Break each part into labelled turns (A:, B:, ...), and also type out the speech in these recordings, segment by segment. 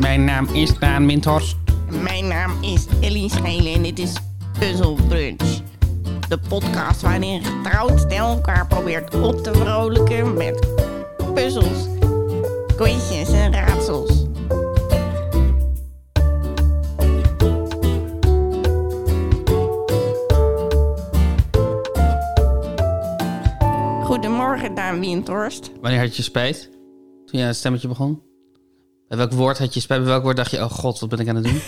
A: Mijn naam is Daan Windhorst.
B: Mijn naam is Ellie Schelen en dit is Puzzle Brunch. De podcast waarin een getrouwd stel elkaar probeert op te vrolijken met puzzels, quizjes en raadsels. Goedemorgen, Daan Windhorst.
A: Wanneer had je spijt? Toen je aan het stemmetje begon? Bij welk woord had je spijt? Bij welk woord dacht je, oh god, wat ben ik aan het doen?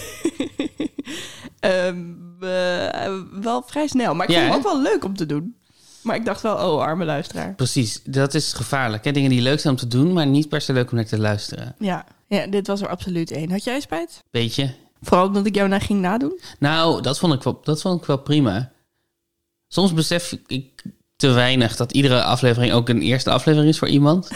B: Ehm, eh, wel vrij snel, maar ik
A: Ja,
B: vond het
A: hè?
B: ook wel leuk om te doen. Maar ik dacht wel, oh, arme luisteraar.
A: Precies, dat is gevaarlijk. Hè? Dingen die leuk zijn om te doen, maar niet per se leuk om naar te luisteren.
B: Ja. ja, dit was er absoluut één. Had jij spijt?
A: Weet je?
B: Vooral omdat ik jou naar ging nadoen?
A: Nou, dat vond ik wel, dat vond ik wel prima. Soms besef ik te weinig dat iedere aflevering ook een eerste aflevering is voor iemand.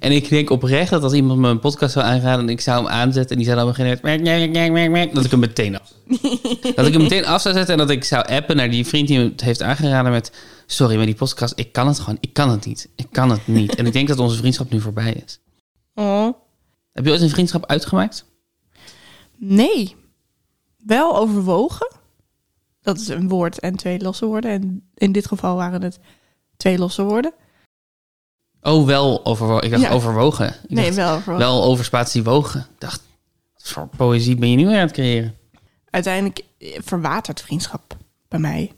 A: en ik denk oprecht dat als iemand me een podcast zou aanraden en ik zou hem aanzetten en die zou dan beginnen met merk, merk, merk, merk, merk, dat ik hem meteen af. dat ik hem meteen af zou zetten en dat ik zou appen naar die vriend die me het heeft aangeraden met sorry, maar die podcast, ik kan het gewoon, ik kan het niet. Ik kan het niet. en ik denk dat onze vriendschap nu voorbij is.
B: Oh.
A: Heb je ooit een vriendschap uitgemaakt?
B: Nee. Wel overwogen. Dat is een woord en twee losse woorden. En in dit geval waren het twee losse woorden.
A: Oh, wel overwogen. Ik dacht
B: Ja.
A: overwogen. Ik
B: Nee,
A: dacht,
B: wel overwogen.
A: wel over spatie wogen. Ik dacht, wat voor poëzie ben je nu weer aan het creëren?
B: Uiteindelijk eh, verwatert vriendschap bij mij.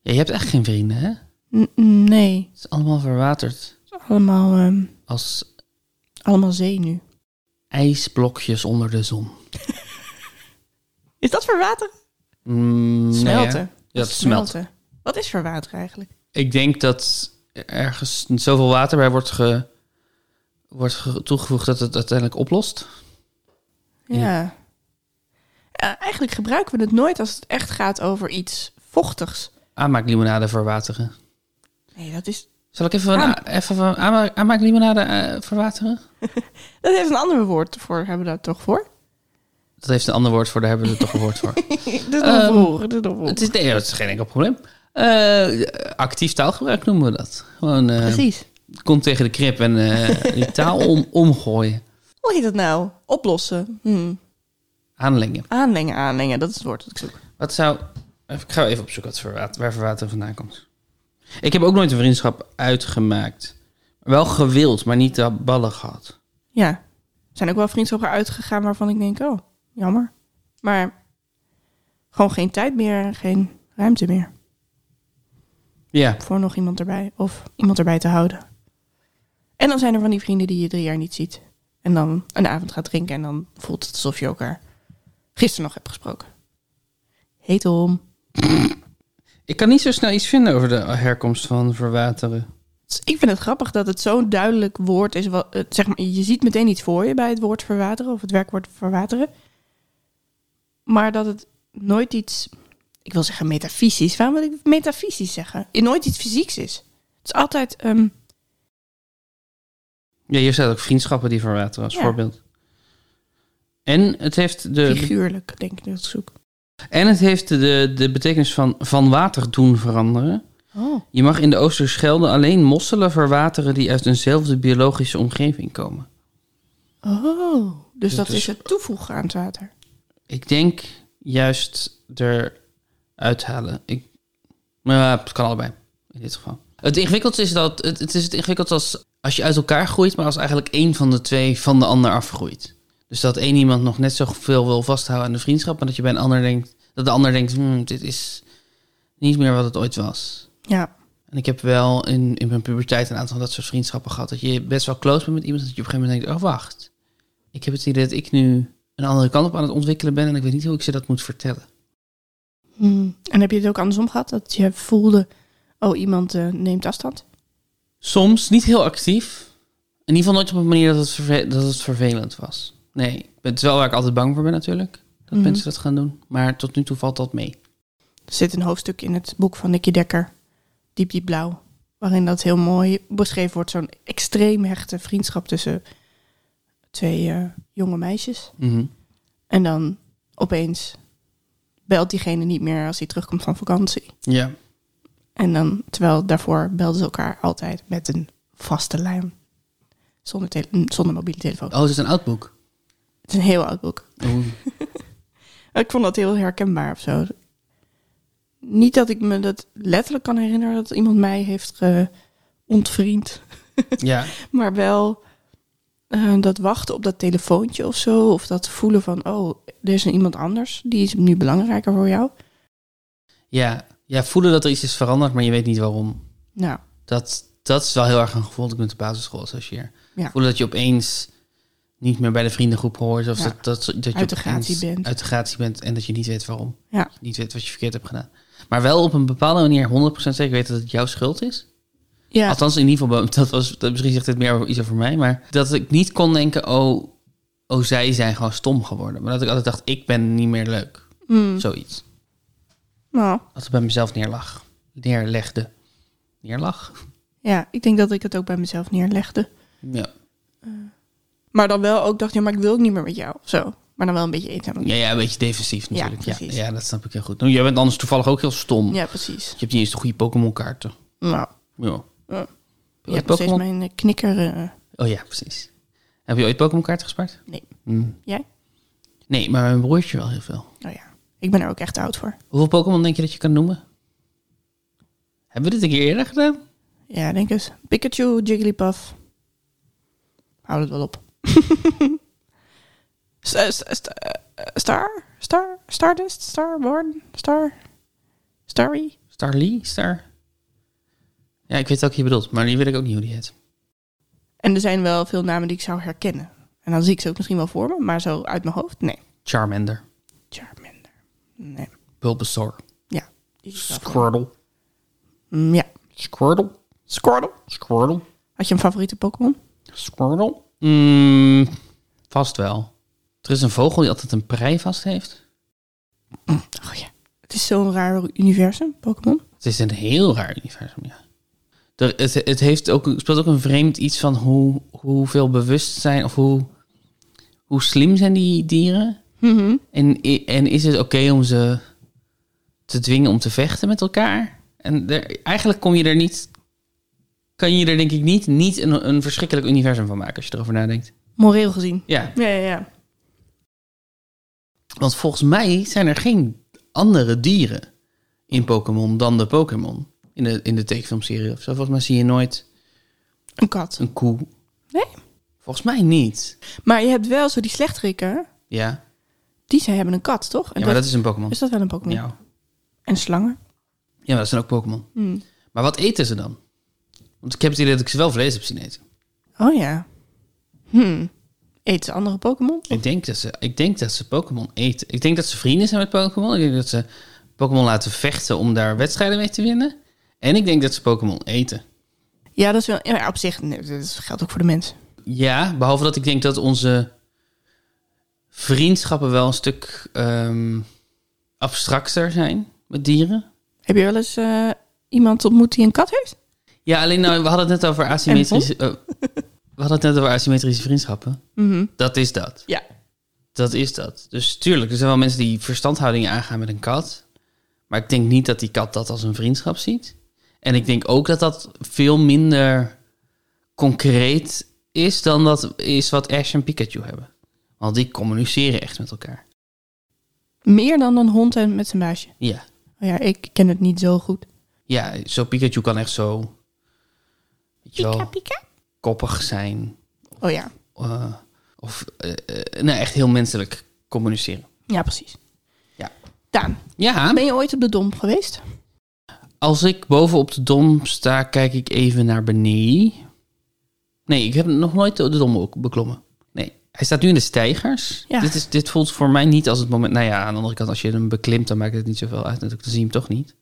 A: Ja, je hebt echt geen vrienden, hè?
B: N- nee.
A: Het is allemaal verwaterd.
B: Het is allemaal, ehm,
A: Als
B: allemaal zee nu.
A: ijsblokjes onder de zon.
B: Is dat verwateren?
A: Mm, nee,
B: Smelten.
A: hè? ja, het smelt.
B: Wat is verwateren eigenlijk?
A: Ik denk dat ergens zoveel water bij wordt, ge, wordt ge- toegevoegd dat het uiteindelijk oplost.
B: Ja. Eh, eigenlijk gebruiken we het nooit als het echt gaat over iets vochtigs.
A: Aanmaaklimonade verwateren.
B: Nee, dat is...
A: Zal ik even een,
B: Aan-
A: even een aanma- aanmaaklimonade eh, verwateren?
B: Dat heeft een ander woord voor. Hebben we daar toch voor?
A: Dat heeft een ander woord voor, daar hebben we er toch een woord voor.
B: dat is nog
A: Ehm,
B: vroeg. Dat is nog vroeg.
A: Het is, nee, dat is geen enkel probleem. Eh, actief taalgebruik noemen we dat. Gewoon eh,
B: Precies.
A: kom tegen de krip en eh, die taal om, omgooien.
B: Hoe heet dat nou? Oplossen. Hm.
A: Aanlengen.
B: Aanlengen, aanlengen. Dat is het woord dat ik zoek.
A: Wat zou... Ik ga even opzoeken wat verwater, waar verwatering vandaan komt. Ik heb ook nooit een vriendschap uitgemaakt. Wel gewild, maar niet de ballen gehad.
B: Ja. Er zijn ook wel vriendschappen uitgegaan waarvan ik denk, oh, jammer. Maar gewoon geen tijd meer en geen ruimte meer
A: Ja,
B: voor nog iemand erbij. Of iemand erbij te houden. En dan zijn er van die vrienden die je drie jaar niet ziet. En dan een avond gaat drinken en dan voelt het alsof je elkaar gisteren nog hebt gesproken. Heet om.
A: ik kan niet zo snel iets vinden over de herkomst van verwateren.
B: Dus ik vind het grappig dat het zo'n duidelijk woord is. Wat, het, zeg maar, je ziet meteen iets voor je bij het woord verwateren of het werkwoord verwateren. Maar dat het nooit iets, ik wil zeggen metafysisch. Waarom wil ik metafysisch zeggen? Het nooit iets fysieks is. Het is altijd, ehm,
A: Ja, hier staat ook vriendschappen die verwateren als
B: Ja.
A: voorbeeld. En het heeft de
B: figuurlijk, denk ik dat ik zoek.
A: En het heeft de, de betekenis van van water doen veranderen.
B: Oh.
A: Je mag in de Oosterschelde alleen mosselen verwateren die uit eenzelfde biologische omgeving komen.
B: oh. Dus
A: Dus
B: dat
A: het
B: is
A: is-
B: het toevoegen aan het water.
A: Ik denk juist eruit halen. Ik, maar het kan allebei in dit geval. Het ingewikkeldste is dat het, het is het ingewikkeld als als je uit elkaar groeit, maar als eigenlijk één van de twee van de ander afgroeit. Dus dat één iemand nog net zoveel wil vasthouden aan de vriendschap, maar dat je bij een ander denkt dat de ander denkt, "Hmm, dit is niet meer wat het ooit was.
B: Ja.
A: En ik heb wel in, in mijn puberteit een aantal van dat soort vriendschappen gehad. Dat je best wel close bent met iemand. Dat je op een gegeven moment denkt, oh wacht. Ik heb het idee dat ik nu een andere kant op aan het ontwikkelen ben. En ik weet niet hoe ik ze dat moet vertellen.
B: Hm. En heb je het ook andersom gehad? Dat je voelde, oh, iemand eh, neemt afstand?
A: Soms, niet heel actief. In ieder geval nooit op een manier dat het, verve- dat het vervelend was. Nee, het is wel waar ik altijd bang voor ben natuurlijk. Dat
B: Mhm.
A: mensen dat gaan doen. Maar tot nu toe valt dat mee.
B: Er zit een hoofdstuk in het boek van Nicky Dekker, Diep Diep Blauw, waarin dat heel mooi beschreven wordt. Zo'n extreem hechte vriendschap tussen twee eh, jonge meisjes.
A: Mhm.
B: En dan opeens belt diegene niet meer als hij terugkomt van vakantie.
A: Ja.
B: En dan, terwijl daarvoor belden ze elkaar altijd met een vaste lijn. Zonder, tele- zonder mobiele telefoon.
A: Oh, het is een oud boek.
B: Het is een heel oud boek.
A: Oeh.
B: Ik vond dat heel herkenbaar of zo. Niet dat ik me dat letterlijk kan herinneren dat iemand mij heeft eh, ontvriend.
A: Ja,
B: Maar wel eh, dat wachten op dat telefoontje of zo. Of dat voelen van, oh, er is een iemand anders. Die is nu belangrijker voor jou.
A: ja. Ja, voelen dat er iets is veranderd, maar je weet niet waarom.
B: Nou,
A: Dat, dat is wel heel erg een gevoel dat ik met de basisschool associeer.
B: Ja.
A: Voelen dat je opeens niet meer bij de vriendengroep hoort. Of
B: Ja.
A: dat, dat, dat je
B: Uit de
A: opeens
B: gratie bent.
A: uit de gratie bent en dat je niet weet waarom.
B: Ja.
A: Dat je niet weet wat je verkeerd hebt gedaan. Maar wel op een bepaalde manier 100% zeker weten dat het jouw schuld is.
B: ja,
A: Althans, in ieder geval, dat was, dat, misschien zegt dit meer over, iets over mij, maar dat ik niet kon denken, oh, oh, zij zijn gewoon stom geworden. Maar dat ik altijd dacht, ik ben niet meer leuk.
B: mm,
A: Zoiets.
B: nou,
A: Altijd bij mezelf neerlag. Neerlegde. Neerlag?
B: ja, ik denk dat ik het ook bij mezelf neerlegde.
A: Ja.
B: Maar dan wel ook dacht, ja, maar ik wil ook niet meer met jou of zo. Maar dan wel een beetje eten.
A: Ja, ja, een beetje defensief
B: Ja,
A: natuurlijk. Ja, ja,
B: precies.
A: dat snap ik heel goed. Nou, jij bent anders toevallig ook heel stom.
B: Ja, precies.
A: Je hebt niet eens de goede Pokémon kaarten.
B: Nou,
A: Ja.
B: Ja. je
A: Heb
B: hebt
A: je
B: nog steeds
A: Pokémon?
B: mijn eh, knikker. eh,
A: Oh ja, precies. Heb je ooit Pokémon kaarten gespaard?
B: Nee.
A: Hm.
B: Jij?
A: Nee, maar mijn broertje wel heel veel.
B: oh ja, ik ben er ook echt te oud voor.
A: Hoeveel Pokémon denk je dat je kan noemen? Hebben we dit een keer eerder gedaan?
B: Ja, denk eens. Pikachu, Jigglypuff. Hou het wel op. Sta- sta- sta- eh, Star? Star? Stardust? Starborn? Star? Starry?
A: Starly? Star? Ja, ik weet welke je bedoelt, maar die weet ik ook niet hoe die heet.
B: En er zijn wel veel namen die ik zou herkennen. En dan zie ik ze ook misschien wel voor me, maar zo uit mijn hoofd? Nee.
A: Charmander,
B: Charmander. Nee.
A: Bulbasaur,
B: Die is wel-
A: Squirtle,
B: Mm, ja.
A: Squirtle,
B: Squirtle.
A: Squirtle,
B: Had je een favoriete Pokémon?
A: Squirtle. Mm, vast wel. Er is een vogel die altijd een prei vast heeft.
B: Oh ja. Het is zo'n raar universum, Pokémon.
A: Het is een heel raar universum, ja. Er, het het heeft ook, speelt ook een vreemd iets van hoe, hoeveel bewustzijn of hoe, hoe slim zijn die dieren.
B: Mhm.
A: En, i- en is het oké om ze te dwingen om te vechten met elkaar? En er, eigenlijk kom je er niet. Kan je er denk ik niet, niet een, een verschrikkelijk universum van maken als je erover nadenkt.
B: Moreel gezien.
A: Ja,
B: Ja, ja, ja.
A: want volgens mij zijn er geen andere dieren in Pokémon dan de Pokémon. In de, in de tekenfilmserie of zo. Volgens mij zie je nooit
B: Een kat.
A: een koe.
B: Nee?
A: Volgens mij niet.
B: Maar je hebt wel zo die slechterikken.
A: Ja,
B: Die zijn, hebben een kat, toch? En
A: ja maar
B: dat,
A: dat is een Pokémon.
B: is dat wel een Pokémon?
A: Ja.
B: En slangen?
A: ja, maar dat zijn ook Pokémon.
B: Hmm.
A: Maar wat eten ze dan? Want ik heb het idee dat ik ze wel vlees heb zien eten.
B: Oh ja. Hmm. Eet ze andere Pokémon?
A: Ik denk dat ze, ik denk dat ze Pokémon eten. Ik denk dat ze vrienden zijn met Pokémon. Ik denk dat ze Pokémon laten vechten om daar wedstrijden mee te winnen. En ik denk dat ze Pokémon eten.
B: Ja, dat is wel... Ja, op zich, nee, dat geldt ook voor de mens.
A: Ja, behalve dat ik denk dat onze vriendschappen wel een stuk ehm, abstracter zijn met dieren.
B: Heb je wel eens eh, iemand ontmoet die een kat heeft?
A: Ja, alleen nou, we hadden het net over asymmetrische. eh, we hadden het net over asymmetrische vriendschappen.
B: Mhm.
A: Dat is dat.
B: Ja.
A: Dat is dat. Dus tuurlijk, er zijn wel mensen die verstandhoudingen aangaan met een kat. Maar ik denk niet dat die kat dat als een vriendschap ziet. En ik denk ook dat dat veel minder concreet is dan dat is wat Ash en Pikachu hebben. Want die communiceren echt met elkaar.
B: Meer dan een hond en met zijn baasje.
A: Ja,
B: Oh ja, ik ken het niet zo goed.
A: ja zo Pikachu kan echt zo weet je wel,
B: pika.
A: koppig zijn.
B: Oh ja.
A: eh, of eh, eh, nou, echt heel menselijk communiceren.
B: Ja, precies.
A: Ja.
B: Daan,
A: Ja,
B: ben je ooit op de Dom geweest?
A: Als ik boven op de dom sta, kijk ik even naar beneden. Nee, ik heb nog nooit de dom ook beklommen. Nee, hij staat nu in de stijgers.
B: Ja.
A: Dit, is, dit voelt voor mij niet als het moment... Nou ja, aan de andere kant, als je hem beklimt, dan maakt het niet zoveel uit. Natuurlijk, dan zie je hem toch niet.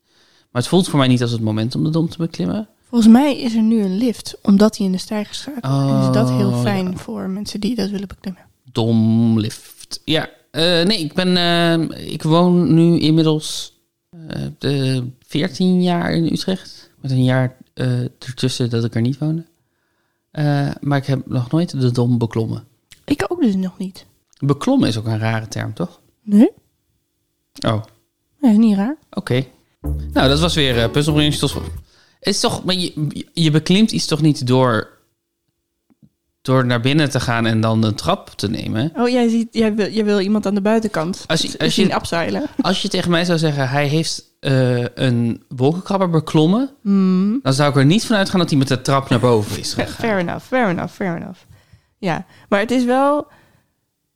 A: Maar het voelt voor mij niet als het moment om de dom te beklimmen.
B: Volgens mij is er nu een lift, omdat hij in de stijgers gaat. en is dat heel
A: Oh,
B: fijn voor mensen die dat willen beklimmen.
A: Domlift. Ja, eh, nee, ik ben... eh, ik woon nu inmiddels eh, de 14 jaar in Utrecht. Met een jaar eh, ertussen dat ik er niet woonde. Eh, maar ik heb nog nooit de Dom beklommen.
B: Ik ook dus nog niet.
A: Beklommen is ook een rare term, toch?
B: Nee,
A: Oh, oké.
B: dat is niet raar.
A: Nou, dat was weer eh puzzelbrunch. Tot vol- Het is toch... Maar je, je beklimt iets toch niet door door naar binnen te gaan en dan een trap te nemen.
B: Oh, jij, ziet, jij, wil, jij wil iemand aan de buitenkant Dus
A: Als je- als je-
B: zien abzeilen.
A: Als je tegen mij zou zeggen, hij heeft eh, een wolkenkrabber beklommen,
B: Hmm.
A: dan zou ik er niet van uitgaan dat hij met de trap naar boven is
B: Fair,
A: gegaan.
B: fair enough, fair enough, fair enough. Ja, maar het is wel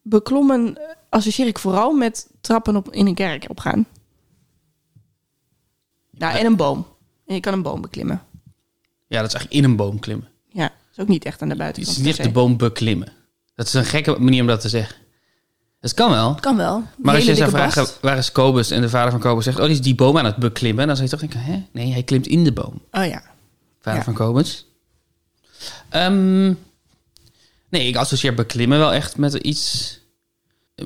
B: beklommen eh, associeer ik vooral met trappen op, in een kerk opgaan. Nou, en een boom. En je kan een boom beklimmen.
A: Ja, dat is eigenlijk in een boom klimmen.
B: Ja, is ook niet echt aan de
A: Het
B: buitenkant.
A: is niet echt
B: per
A: de
B: se.
A: boom beklimmen. Dat is een gekke manier om dat te zeggen. Het kan wel.
B: Kan wel.
A: Maar als je zou
B: Hele dikke
A: vragen,
B: bast.
A: waar is Kobus? En de vader van Kobus zegt, oh, die is die boom aan het beklimmen. Dan zou je toch denken, hè? Nee, hij klimt in de boom.
B: Oh ja.
A: Vader
B: Ja.
A: van Kobus. Ehm, nee, ik associeer beklimmen wel echt met iets...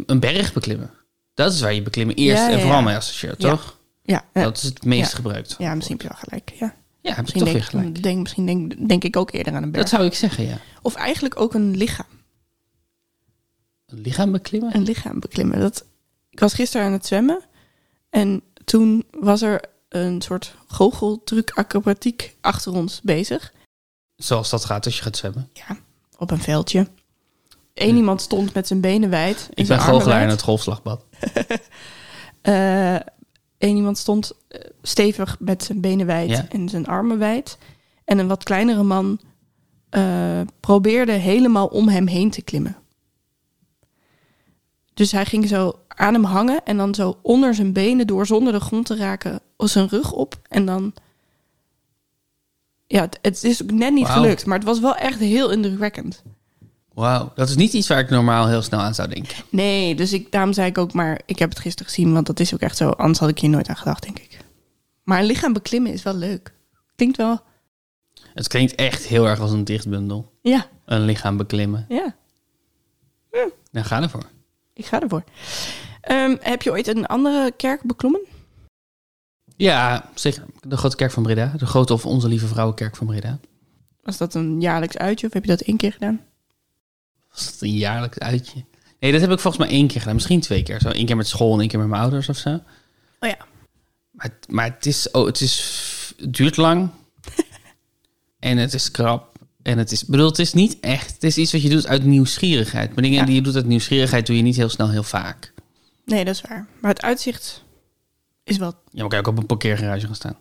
A: Een berg beklimmen. Dat is waar je beklimmen eerst
B: Ja,
A: en
B: ja,
A: vooral
B: ja.
A: mee associeert,
B: Ja.
A: toch?
B: Ja, ja.
A: Dat is het meest
B: Ja.
A: gebruikt.
B: ja, misschien heb je wel gelijk. Ja.
A: Ja, heb je
B: Misschien,
A: toch weer
B: denk, mm,
A: gelijk.
B: Denk, misschien denk, denk ik ook eerder aan een berg.
A: Dat zou ik zeggen, ja.
B: Of eigenlijk ook een lichaam.
A: Een lichaam beklimmen?
B: een lichaam beklimmen. Dat, ik was gisteren aan het zwemmen en toen was er een soort goocheltruc acrobatiek achter ons bezig
A: Zoals dat gaat als je gaat zwemmen.
B: op een veldje. Eén
A: Hm.
B: iemand stond met zijn benen wijd. en
A: Ik
B: zijn
A: ben
B: armen
A: goochelaar in
B: wijd.
A: het golfslagbad.
B: Eh, één iemand stond eh, stevig met zijn benen wijd
A: Ja.
B: en zijn armen wijd. En een wat kleinere man eh, probeerde helemaal om hem heen te klimmen. Dus hij ging zo aan hem hangen en dan zo onder zijn benen door zonder de grond te raken zijn rug op. En dan... Ja, het, het is ook net niet
A: Wauw.
B: gelukt, maar het was wel echt heel indrukwekkend.
A: Wauw, dat is niet iets waar ik normaal heel snel aan zou denken.
B: Nee, dus ik, daarom zei ik ook maar, ik heb het gisteren gezien, want dat is ook echt zo. Anders had ik hier nooit aan gedacht, denk ik. Maar een lichaam beklimmen is wel leuk. Klinkt wel,
A: Het klinkt echt heel erg als een dichtbundel.
B: ja,
A: Een lichaam beklimmen.
B: ja,
A: Nou, ga ervoor.
B: ik ga ervoor. Ehm, heb je ooit een andere kerk beklommen?
A: Ja, zeker. De grote kerk van Breda. De grote of onze lieve vrouwenkerk van Breda.
B: Was dat een jaarlijks uitje of heb je dat één keer gedaan?
A: Was dat een jaarlijks uitje? Nee, dat heb ik volgens mij één keer gedaan. Misschien twee keer. Zo één keer met school en één keer met mijn ouders of zo.
B: Oh ja.
A: Maar, het- maar het, is, oh, het, is, f- het duurt lang. en het is krap. En het is, ik bedoel, het is niet echt. Het is iets wat je doet uit nieuwsgierigheid. Maar dingen
B: Ja.
A: die je doet uit nieuwsgierigheid doe je niet heel snel heel vaak.
B: Nee, dat is waar. Maar het uitzicht is wel...
A: Ja, maar kan je ook op een parkeergarage gaan staan.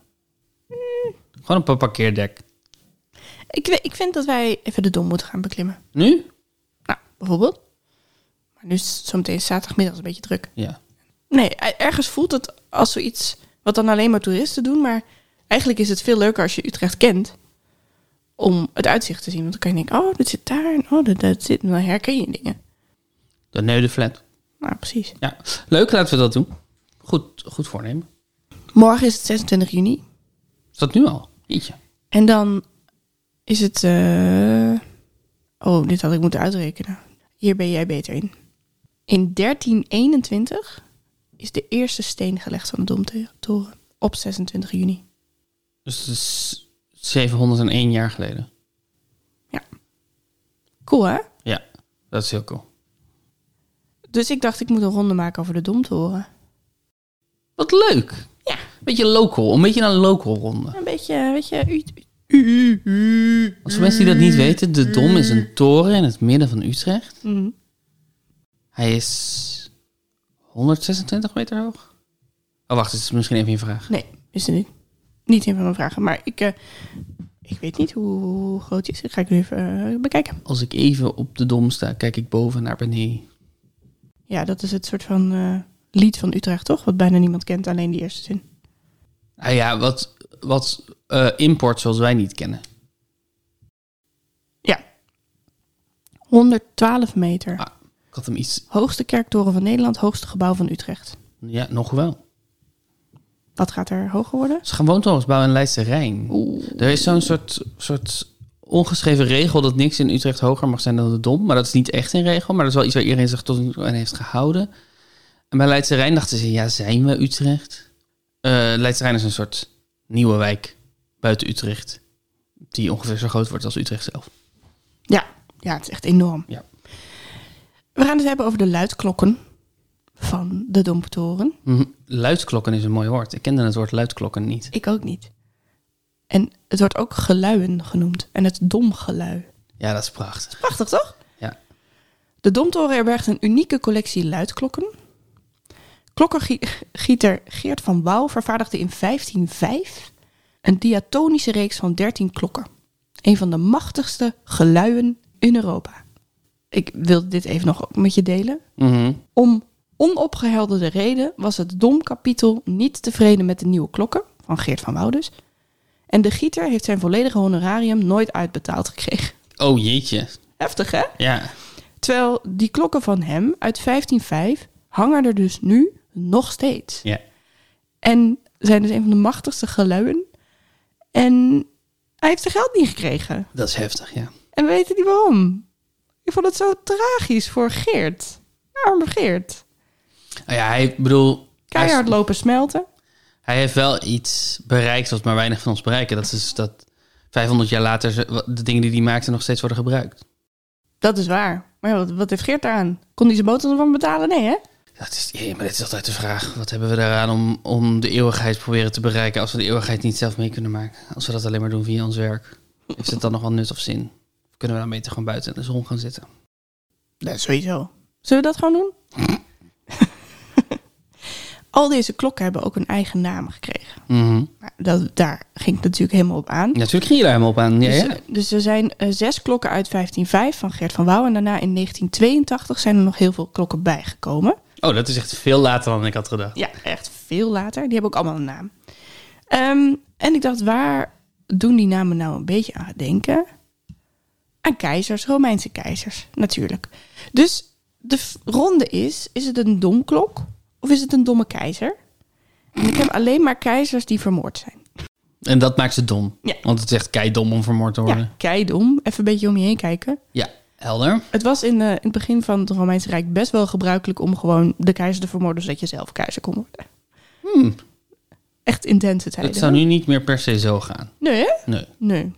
A: Gewoon op een parkeerdek.
B: Ik, we- ik vind dat wij even de Dom moeten gaan beklimmen.
A: Nu?
B: Nou, bijvoorbeeld. Maar nu is het zometeen zaterdagmiddag een beetje druk.
A: Ja.
B: Nee, e- ergens voelt het als zoiets wat dan alleen maar toeristen doen. Maar eigenlijk is het veel leuker als je Utrecht kent om het uitzicht te zien. Want dan kan je denken, oh, dit zit daar en oh, dat, dat zit. En dan herken je dingen.
A: De Neudeflat.
B: Nou, precies.
A: Ja. Leuk, laten we dat doen. Goed, goed voornemen.
B: Morgen is het 26 juni.
A: Is dat nu al? Jeetje.
B: En dan is het... eh, Oh, dit had ik moeten uitrekenen. Hier ben jij beter in. In 1321 is de eerste steen gelegd van de Domtoren. Op 26 juni.
A: Dus het is 701 jaar geleden.
B: Cool, hè?
A: Ja, dat is heel cool.
B: Dus ik dacht, ik moet een ronde maken over de Domtoren.
A: Wat leuk.
B: Ja.
A: Beetje local. Een beetje een local ronde.
B: Een beetje, weet je, uit- uit-
A: Als voor mensen die dat niet weten, de Dom is een toren in het midden van Utrecht. Hij is 126 meter hoog. Oh, wacht, dit is misschien even je vraag.
B: Nee, is het niet. Niet een van mijn vragen, maar ik, eh, ik weet niet hoe groot die is. Dat ga ik nu even eh, bekijken.
A: Als ik even op de Dom sta, kijk ik boven naar beneden.
B: Ja, dat is het soort van eh, lied van Utrecht, toch? Wat bijna niemand kent, alleen die eerste zin.
A: Nou ja, wat, wat eh, import zoals wij niet kennen.
B: 112 meter.
A: Ah. Ik had hem iets...
B: Hoogste kerktoren van Nederland, hoogste gebouw van Utrecht.
A: Ja, nog wel.
B: Wat gaat er hoger worden?
A: Ze gaan woontorens bouwen in Leidse Rijn.
B: Oeh.
A: Er is zo'n soort, soort ongeschreven regel dat niks in Utrecht hoger mag zijn dan de Dom. Maar dat is niet echt een regel, maar dat is wel iets waar iedereen zich tot nu toe aan heeft gehouden. En bij Leidse Rijn dachten ze, ja, zijn we Utrecht? Eh Leidse Rijn is een soort nieuwe wijk buiten Utrecht. Die ongeveer zo groot wordt als Utrecht zelf.
B: Ja, ja, het is echt enorm.
A: Ja.
B: We gaan het dus hebben over de luidklokken van de Domtoren.
A: Mhm. Luidklokken is een mooi woord. Ik kende het woord luidklokken niet.
B: Ik ook niet. En het wordt ook geluien genoemd. En het domgelui.
A: Ja, dat is prachtig.
B: Prachtig, toch?
A: Ja.
B: De Domtoren herbergt een unieke collectie luidklokken. Klokkengieter Geert van Wouw vervaardigde in 1505 een diatonische reeks van 13 klokken. Een van de machtigste geluien in Europa. Ik wil dit even nog met je delen.
A: Mhm.
B: Om onopgehelderde reden was het domkapitel niet tevreden met de nieuwe klokken van Geert van Wouw dus. En de gieter heeft zijn volledige honorarium nooit uitbetaald gekregen.
A: Oh jeetje.
B: Heftig hè?
A: Ja.
B: Terwijl die klokken van hem uit 1505 hangen er dus nu nog steeds.
A: ja.
B: En zijn dus een van de machtigste geluiden. En hij heeft zijn geld niet gekregen.
A: Dat is heftig, ja.
B: En we weten niet waarom. Ik vond het zo tragisch voor Geert. Arme Geert.
A: Nou ja, hij, ik bedoel, hij, is-
B: Keihard lopen smelten.
A: hij heeft wel iets bereikt wat maar weinig van ons bereiken. Dat is dus dat 500 jaar later ze- wat- de dingen die hij maakte nog steeds worden gebruikt.
B: Dat is waar. Maar ja, wat, wat heeft Geert daaraan? Kon hij zijn boterham van betalen? Nee, hè?
A: Dat is, jee, maar dit is altijd de vraag. Wat hebben we daaraan om, om de eeuwigheid proberen te bereiken als we de eeuwigheid niet zelf mee kunnen maken? Als we dat alleen maar doen via ons werk. Heeft het dan nog wel nut of zin? Of Kunnen we dan beter gewoon buiten in de zon gaan zitten?
B: Dat sowieso. Zullen we dat gewoon doen? Al deze klokken hebben ook een eigen naam gekregen.
A: Mhm.
B: Maar dat, daar ging het natuurlijk helemaal op aan.
A: Natuurlijk ging je daar helemaal op aan. Ja,
B: dus,
A: ja.
B: dus er zijn eh, zes klokken uit 1505 van Geert van Wouw. En daarna in 1982 zijn er nog heel veel klokken bijgekomen.
A: Oh, dat is echt veel later dan ik had gedacht.
B: Ja, echt veel later. Die hebben ook allemaal een naam. Ehm, en ik dacht, waar doen die namen nou een beetje aan denken? Aan keizers, Romeinse keizers, natuurlijk. Dus de v- ronde is, is het een domklok of is het een domme keizer? En ik heb alleen maar keizers die vermoord zijn.
A: En dat maakt ze dom.
B: Ja.
A: Want het is echt keidom om vermoord te
B: Ja,
A: worden.
B: keidom. Even een beetje om je heen kijken.
A: Ja, helder.
B: Het was in, eh, in het begin van het Romeinse Rijk best wel gebruikelijk om gewoon de keizer te vermoorden zodat je zelf keizer kon worden.
A: Hmm.
B: Echt intense tijden.
A: Het zou nu niet meer per se zo gaan.
B: Nee, hè?
A: Nee.
B: Nee.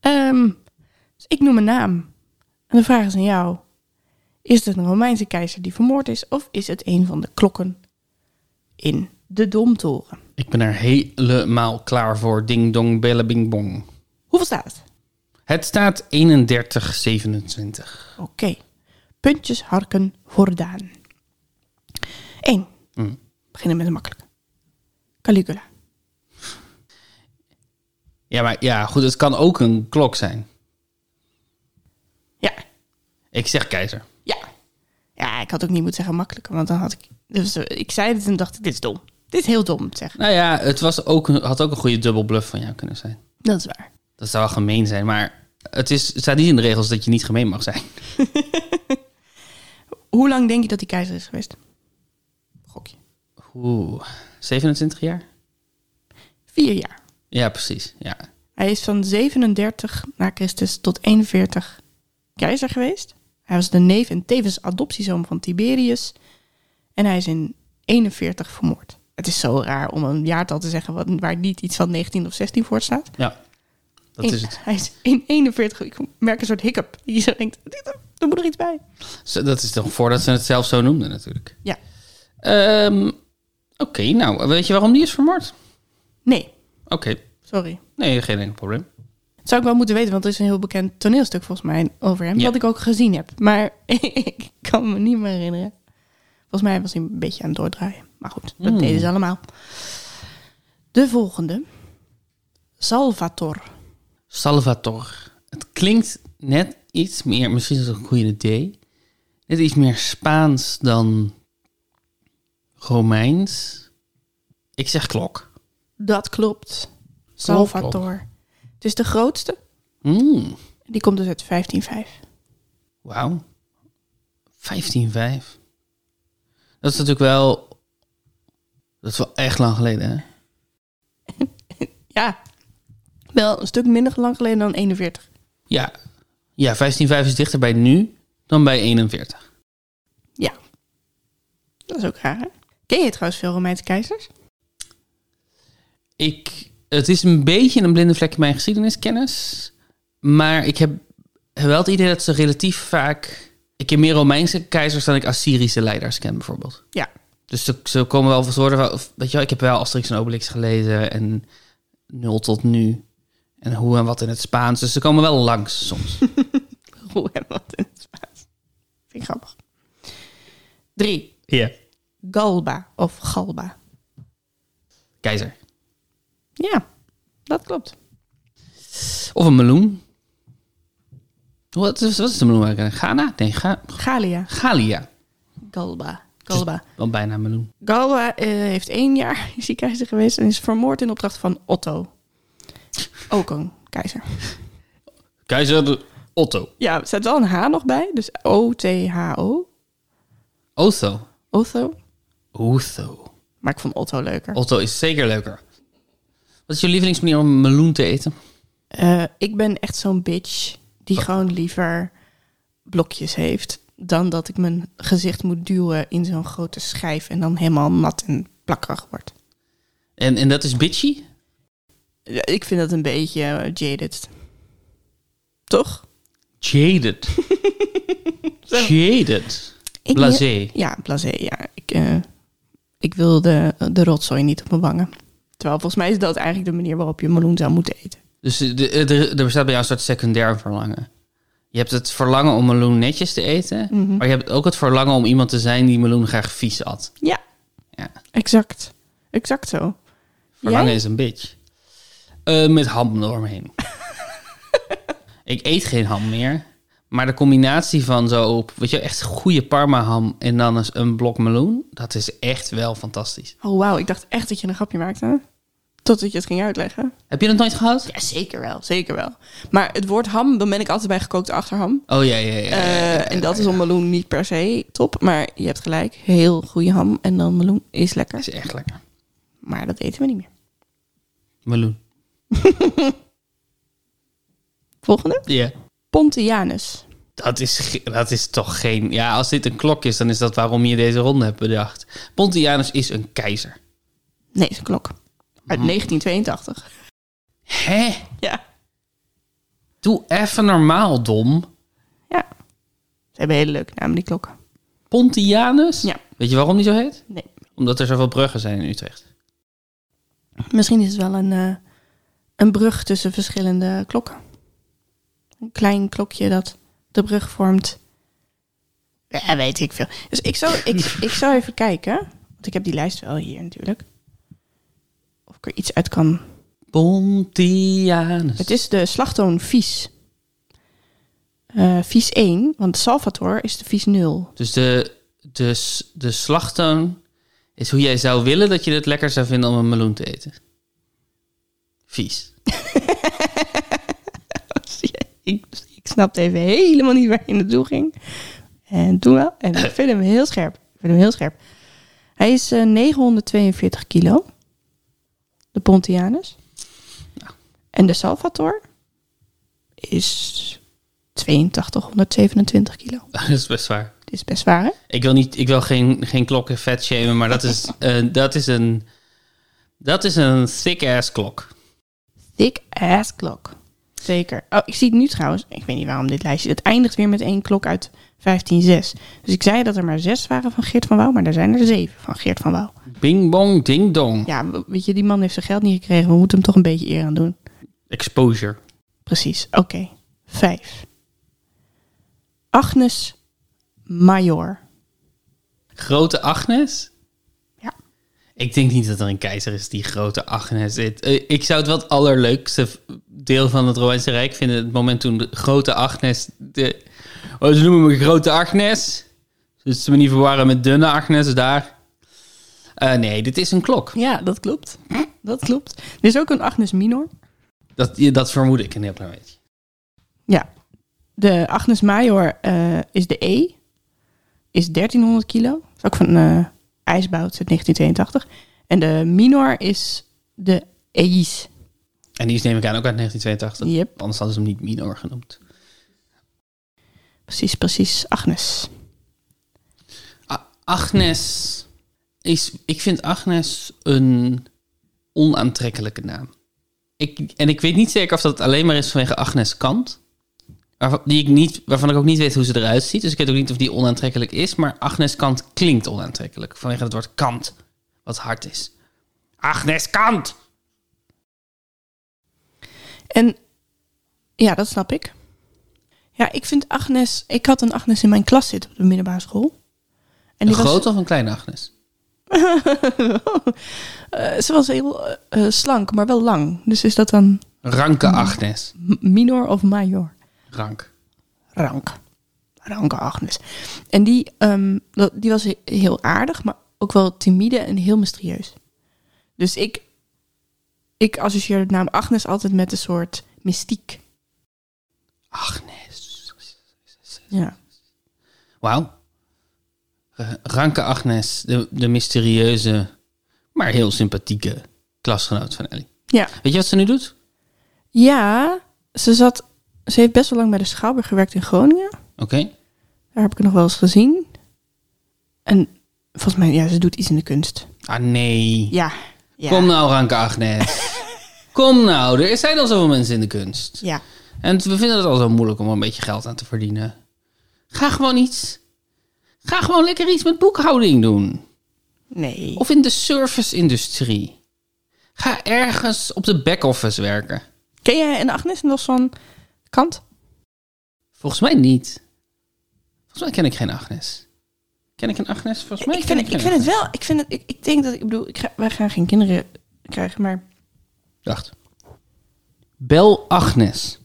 B: Ehm, dus ik noem een naam. En de vraag is aan jou. Is het een Romeinse keizer die vermoord is of is het een van de klokken in de Domtoren?
A: Ik ben er helemaal klaar voor. Ding dong, bellen, bing bong.
B: Hoeveel staat het?
A: Het staat 3127.
B: Oké. Puntjes harken voor Daan. 1.
A: Mm.
B: Beginnen met een makkelijke. Caligula.
A: Ja, maar ja, goed, het kan ook een klok zijn.
B: Ja.
A: Ik zeg keizer.
B: Ja. Ja, ik had ook niet moeten zeggen makkelijker, want dan had ik... Dus, eh, ik zei dit en dacht ik, dit is dom. Dit is heel dom, zeg.
A: Nou ja, het was ook, een- had ook een goede dubbelbluff van jou kunnen zijn.
B: Dat is waar.
A: Dat zou wel gemeen zijn, maar het, is, het staat niet in de regels dat je niet gemeen mag zijn.
B: Hoe lang denk je dat die keizer is geweest? Gokje.
A: Oeh, 27 jaar?
B: Vier jaar.
A: Ja, precies. Ja.
B: Hij is van 37 na Christus tot 41 keizer geweest. Hij was de neef en tevens adoptiezoon van Tiberius. En hij is in 41 vermoord. Het is zo raar om een jaartal te zeggen wat, waar niet iets van 19 of 16 voor staat.
A: ja, dat
B: In-
A: is het.
B: Hij is in 41. Ik merk een soort hiccup. Die zo denkt, dit- er moet er iets bij.
A: Zo, Dat is toch voordat ze het zelf zo noemden natuurlijk.
B: Ja,
A: Ehm, Oké, nou, weet je waarom die is vermoord?
B: nee,
A: Oké,
B: sorry.
A: nee, geen enkel probleem.
B: Dat zou ik wel moeten weten, want er is een heel bekend toneelstuk volgens mij over hem.
A: Ja.
B: Wat ik ook gezien heb. Maar ik kan me niet meer herinneren. Volgens mij was hij een beetje aan het doordraaien. Maar goed, dat
A: Hmm.
B: deden ze allemaal. De volgende. Salvator.
A: Salvator. Het klinkt net iets meer, misschien is het een goede idee, net iets meer Spaans dan Romeins. Ik zeg klok.
B: Dat klopt.
A: Klok,
B: Salvator. Het is de grootste.
A: klok. Mm,
B: Die komt dus uit 1505.
A: Wauw. 15,5. Dat is natuurlijk wel... Dat is wel echt lang geleden, hè?
B: Ja, wel een stuk minder lang geleden dan 41.
A: Ja, ja 15,5 is dichter bij nu dan bij 41.
B: Dat is ook raar. hè? Ken je trouwens veel Romeinse keizers?
A: Ik, het is een beetje een blinde vlek in mijn geschiedeniskennis. Maar ik heb wel het idee dat ze relatief vaak... Ik ken meer Romeinse keizers dan ik Assyrische leiders ken, bijvoorbeeld.
B: Ja.
A: Dus ze, ze komen wel van worden... wel- Weet je wel, ik heb wel Asterix en Obelix gelezen en 0 tot nu. En hoe en wat in het Spaans. Dus ze komen wel langs soms.
B: Hoe en wat in het Spaans. Vind ik grappig. Drie.
A: Ja.
B: Galba of Galba.
A: Keizer.
B: Ja, dat klopt.
A: Of een meloen. Wat is, wat is de meloen eigenlijk? Ghana? Nee, Ga
B: Galia.
A: Galia.
B: Galba. Galba.
A: Wel bijna een meloen.
B: Galba eh, heeft één jaar is hij keizer geweest en is vermoord in opdracht van Otto. Ook een keizer.
A: Keizer Otto.
B: Ja, er staat wel een H nog bij, dus O-T-H-O.
A: Otho.
B: Otto.
A: Otho.
B: Maar ik vond Otto leuker.
A: Otto is zeker leuker. Wat is je lievelingsmanier om een meloen te eten?
B: Eh, ik ben echt zo'n bitch die gewoon liever blokjes heeft dan dat ik mijn gezicht moet duwen in zo'n grote schijf en dan helemaal nat en plakkerig wordt.
A: En, en dat is bitchy?
B: Ja, ik vind dat een beetje eh, jaded. Toch?
A: Jaded. Jaded.
B: Ik
A: Blasé.
B: Ja, blasé, ja. Ik, eh, ik wil de, de rotzooi niet op mijn wangen. Terwijl volgens mij is dat eigenlijk de manier waarop je meloen zou moeten eten.
A: Dus eh, de- eh, er er bestaat bij jou een soort secundair verlangen. Je hebt het verlangen om meloen netjes te eten. Maar je hebt ook het verlangen om iemand te zijn die meloen graag vies at.
B: Ja,
A: Ja,
B: exact. Exact zo.
A: verlangen
B: Jij?
A: is een bitch. Eh, met ham eromheen. ik eet geen ham meer. Maar de combinatie van zo op, weet je, echt goede parma ham en dan eens een blok meloen. Dat is echt wel fantastisch.
B: Oh, wauw. Ik dacht echt dat je een grapje maakte. Totdat je het ging uitleggen.
A: Heb je dat nooit gehad?
B: Ja, zeker wel. Zeker wel. Maar het woord ham, dan ben ik altijd bij gekookte achterham.
A: Oh ja, ja, ja. ja,
B: Eh,
A: ja, ja.
B: en dat is om meloen niet per se top. Maar je hebt gelijk. Heel goede ham. En dan meloen is lekker.
A: Dat is echt lekker.
B: Maar dat eten we niet meer.
A: Meloen.
B: Volgende.
A: Ja.
B: Pontianus.
A: Dat is, ge- dat is toch geen... Ja, als dit een klok is, dan is dat waarom je deze ronde hebt bedacht. Pontianus is een keizer.
B: Nee, is een klok. Uit
A: Mm.
B: 1982.
A: Hè?
B: Ja.
A: Doe even normaal, dom.
B: Ja. Ze hebben hele leuke namen, die klokken.
A: Pontianus?
B: Ja.
A: Weet je waarom die zo heet?
B: Nee.
A: Omdat er zoveel bruggen zijn in Utrecht.
B: Misschien is het wel een, eh, een brug tussen verschillende klokken. Een klein klokje dat de brug vormt. Ja, weet ik veel. Dus ik zou, ik, ik zou even kijken. Want ik heb die lijst wel hier natuurlijk. Of ik er iets uit kan.
A: Pontianus.
B: Het is de slagtoon vies. Eh vies 1, want Salvator is de vies 0.
A: Dus de, de, s- de slagtoon is hoe jij zou willen dat je het lekker zou vinden om een meloen te eten. Vies.
B: ik, ik snapte even helemaal niet waar je naartoe ging. En toen wel. En ik vind hem heel scherp. Ik vind hem heel scherp. Hij is eh, 942 kilo. De Pontianus. En de Salvator is 8227 kilo.
A: Dat is best waar.
B: Dit is best waar, hè?
A: Ik wil, niet, ik wil geen, geen klokken vet shamen, maar dat is, eh, dat is een. Dat is een thick ass klok.
B: Thick ass klok. Zeker. Oh, ik zie het nu trouwens. Ik weet niet waarom dit lijstje. Het eindigt weer met één klok uit 1506. Dus ik zei dat er maar zes waren van Geert van Wouw, maar er zijn er zeven van Geert van Wouw.
A: Bing bong ding dong.
B: Ja, we- weet je, die man heeft zijn geld niet gekregen. We moeten hem toch een beetje eer aan doen.
A: Exposure.
B: Precies. Oké. Vijf. Agnes Major.
A: Grote Agnes?
B: Ja.
A: Ik denk niet dat er een keizer is die grote Agnes zit. Eh, ik zou het wel het allerleukste v- deel van het Romeinse Rijk vinden. Het moment toen de grote Agnes. De, oh, ze noemen me grote Agnes. Dus ze me niet verwarren met dunne Agnes daar. Eh, nee, dit is een klok.
B: Ja, dat klopt. Hm? Dat klopt. Er is ook een Agnes Minor.
A: Dat, dat vermoed ik een heel klein beetje.
B: Ja. De Agnes Major eh, is de E. Is 1300 kilo. Is ook van eh IJsbout uit 1982. En de Minor is de Eis.
A: En die is neem ik aan ook uit 1982.
B: Yep.
A: Anders hadden ze hem niet minor genoemd.
B: Precies, precies. Agnes.
A: A- Agnes is... Ik vind Agnes een onaantrekkelijke naam. Ik, en ik weet niet zeker of dat alleen maar is vanwege Agnes Kant. Waarvan, die ik niet, waarvan ik ook niet weet hoe ze eruit ziet. Dus ik weet ook niet of die onaantrekkelijk is. Maar Agnes Kant klinkt onaantrekkelijk. Vanwege het woord kant. Wat hard is. Agnes Kant!
B: En ja, dat snap ik. Ja, ik vind Agnes... Ik had een Agnes in mijn klas zitten op de middelbare school. En
A: Een
B: die was-
A: grote of een kleine Agnes?
B: Eh, ze was heel eh, eh, slank, maar wel lang. Dus is dat dan
A: Ranke
B: Mm.
A: Agnes.
B: m- minor of major?
A: Rank.
B: rank. Ranke Agnes. En die, ehm, dat- die was he- heel aardig, maar ook wel timide en heel mysterieus. Dus ik, ik associeer de naam Agnes altijd met een soort mystiek.
A: Agnes.
B: Ja.
A: Wauw. Eh, Ranke Agnes, de, de mysterieuze, maar heel sympathieke klasgenoot van Ellie.
B: Ja.
A: Weet je wat ze nu doet?
B: ja, ze zat. Ze heeft best wel lang bij de Schouwburg gewerkt in Groningen.
A: Oké.
B: Daar heb ik haar nog wel eens gezien. En volgens mij, ja, ze doet iets in de kunst.
A: Ah nee.
B: Ja. ja.
A: Kom nou, Ranke Agnes. Kom nou, er zijn al zoveel mensen in de kunst.
B: Ja.
A: En we vinden het al zo moeilijk om er een beetje geld aan te verdienen. Ga gewoon iets. Ga gewoon lekker iets met boekhouding doen.
B: Nee.
A: Of in de service-industrie. Ga ergens op de back-office werken.
B: Ken jij een Agnes nog van Kant?
A: Volgens mij niet. Volgens mij ken ik geen Agnes. Ken ik een Agnes? Volgens mij
B: ik
A: ken
B: vind, het, ik
A: geen
B: vind het
A: Agnes.
B: wel. Ik, vind het, ik, ik denk dat ik bedoel, ik ga, wij gaan geen kinderen krijgen, maar
A: Wacht. Bel Agnes.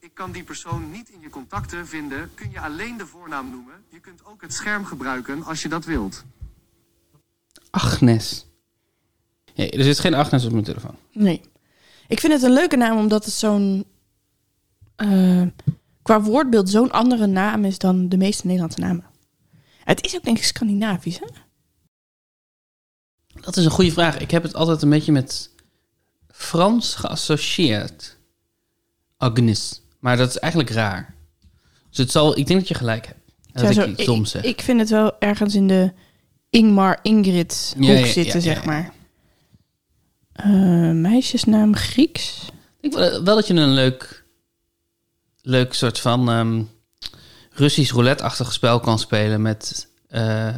C: Ik kan die persoon niet in je contacten vinden. Kun je alleen de voornaam noemen? Je kunt ook het scherm gebruiken als je dat wilt.
A: Agnes. Nee, er zit geen Agnes op mijn telefoon.
B: nee. Ik vind het een leuke naam omdat het zo'n eh, qua woordbeeld zo'n andere naam is dan de meeste Nederlandse namen. Het is ook denk ik Scandinavisch, hè?
A: Dat is een goede vraag. Ik heb het altijd een beetje met Frans geassocieerd. Agnes. Maar dat is eigenlijk raar. Dus het zal, ik denk dat je gelijk hebt. En
B: Ja,
A: dat
B: zo-
A: ik iets doms zeg.
B: ik, vind het wel ergens in de Ingmar Ingrid hoek
A: Ja, ja, ja,
B: zitten,
A: ja,
B: zeg
A: ja.
B: maar. Eh, meisjesnaam Grieks.
A: Ik wil eh, wel dat je een leuk, leuk soort van ehm, Russisch roulette-achtig spel kan spelen met eh,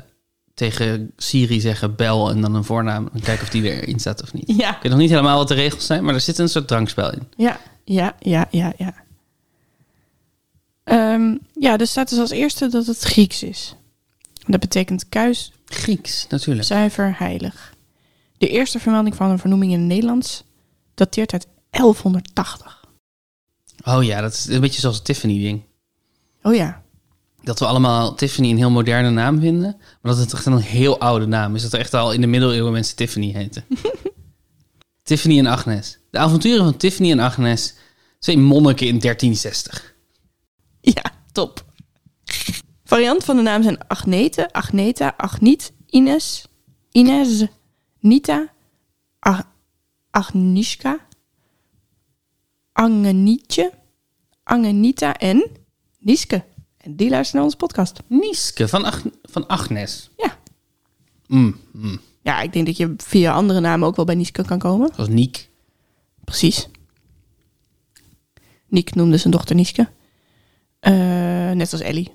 A: tegen Siri zeggen bel en dan een voornaam en kijken of die erin staat of niet.
B: Ja.
A: Ik weet nog niet helemaal wat de regels zijn, maar er zit een soort drankspel in.
B: Ja, ja, ja, ja, ja. Ehm, ja, er staat dus als eerste dat het Grieks is. Dat betekent kuis,
A: Grieks, natuurlijk.
B: zuiver, heilig. De eerste vermelding van een vernoeming in het Nederlands dateert uit 1180.
A: Oh ja, dat is een beetje zoals het Tiffany-ding.
B: Oh ja,
A: Dat we allemaal Tiffany een heel moderne naam vinden, maar dat het echt een heel oude naam is. Dat er echt al in de middeleeuwen mensen Tiffany heten. Tiffany en Agnes. De avonturen van Tiffany en Agnes. Twee monniken in 1360.
B: ja, top. Variant van de naam zijn Agnete, Agneta, Agniet, Ines, Ines, Nita, Ag Agnieszka, Angenietje, Angenita en Nieske. En die luisteren naar onze podcast.
A: Nieske van, Ag- van Agnes.
B: Ja.
A: Mm, mm.
B: ja, ik denk dat je via andere namen ook wel bij Nieske kan komen.
A: Dat was Niek.
B: Precies. Niek noemde zijn dochter Nieske. Eh, net als Ellie.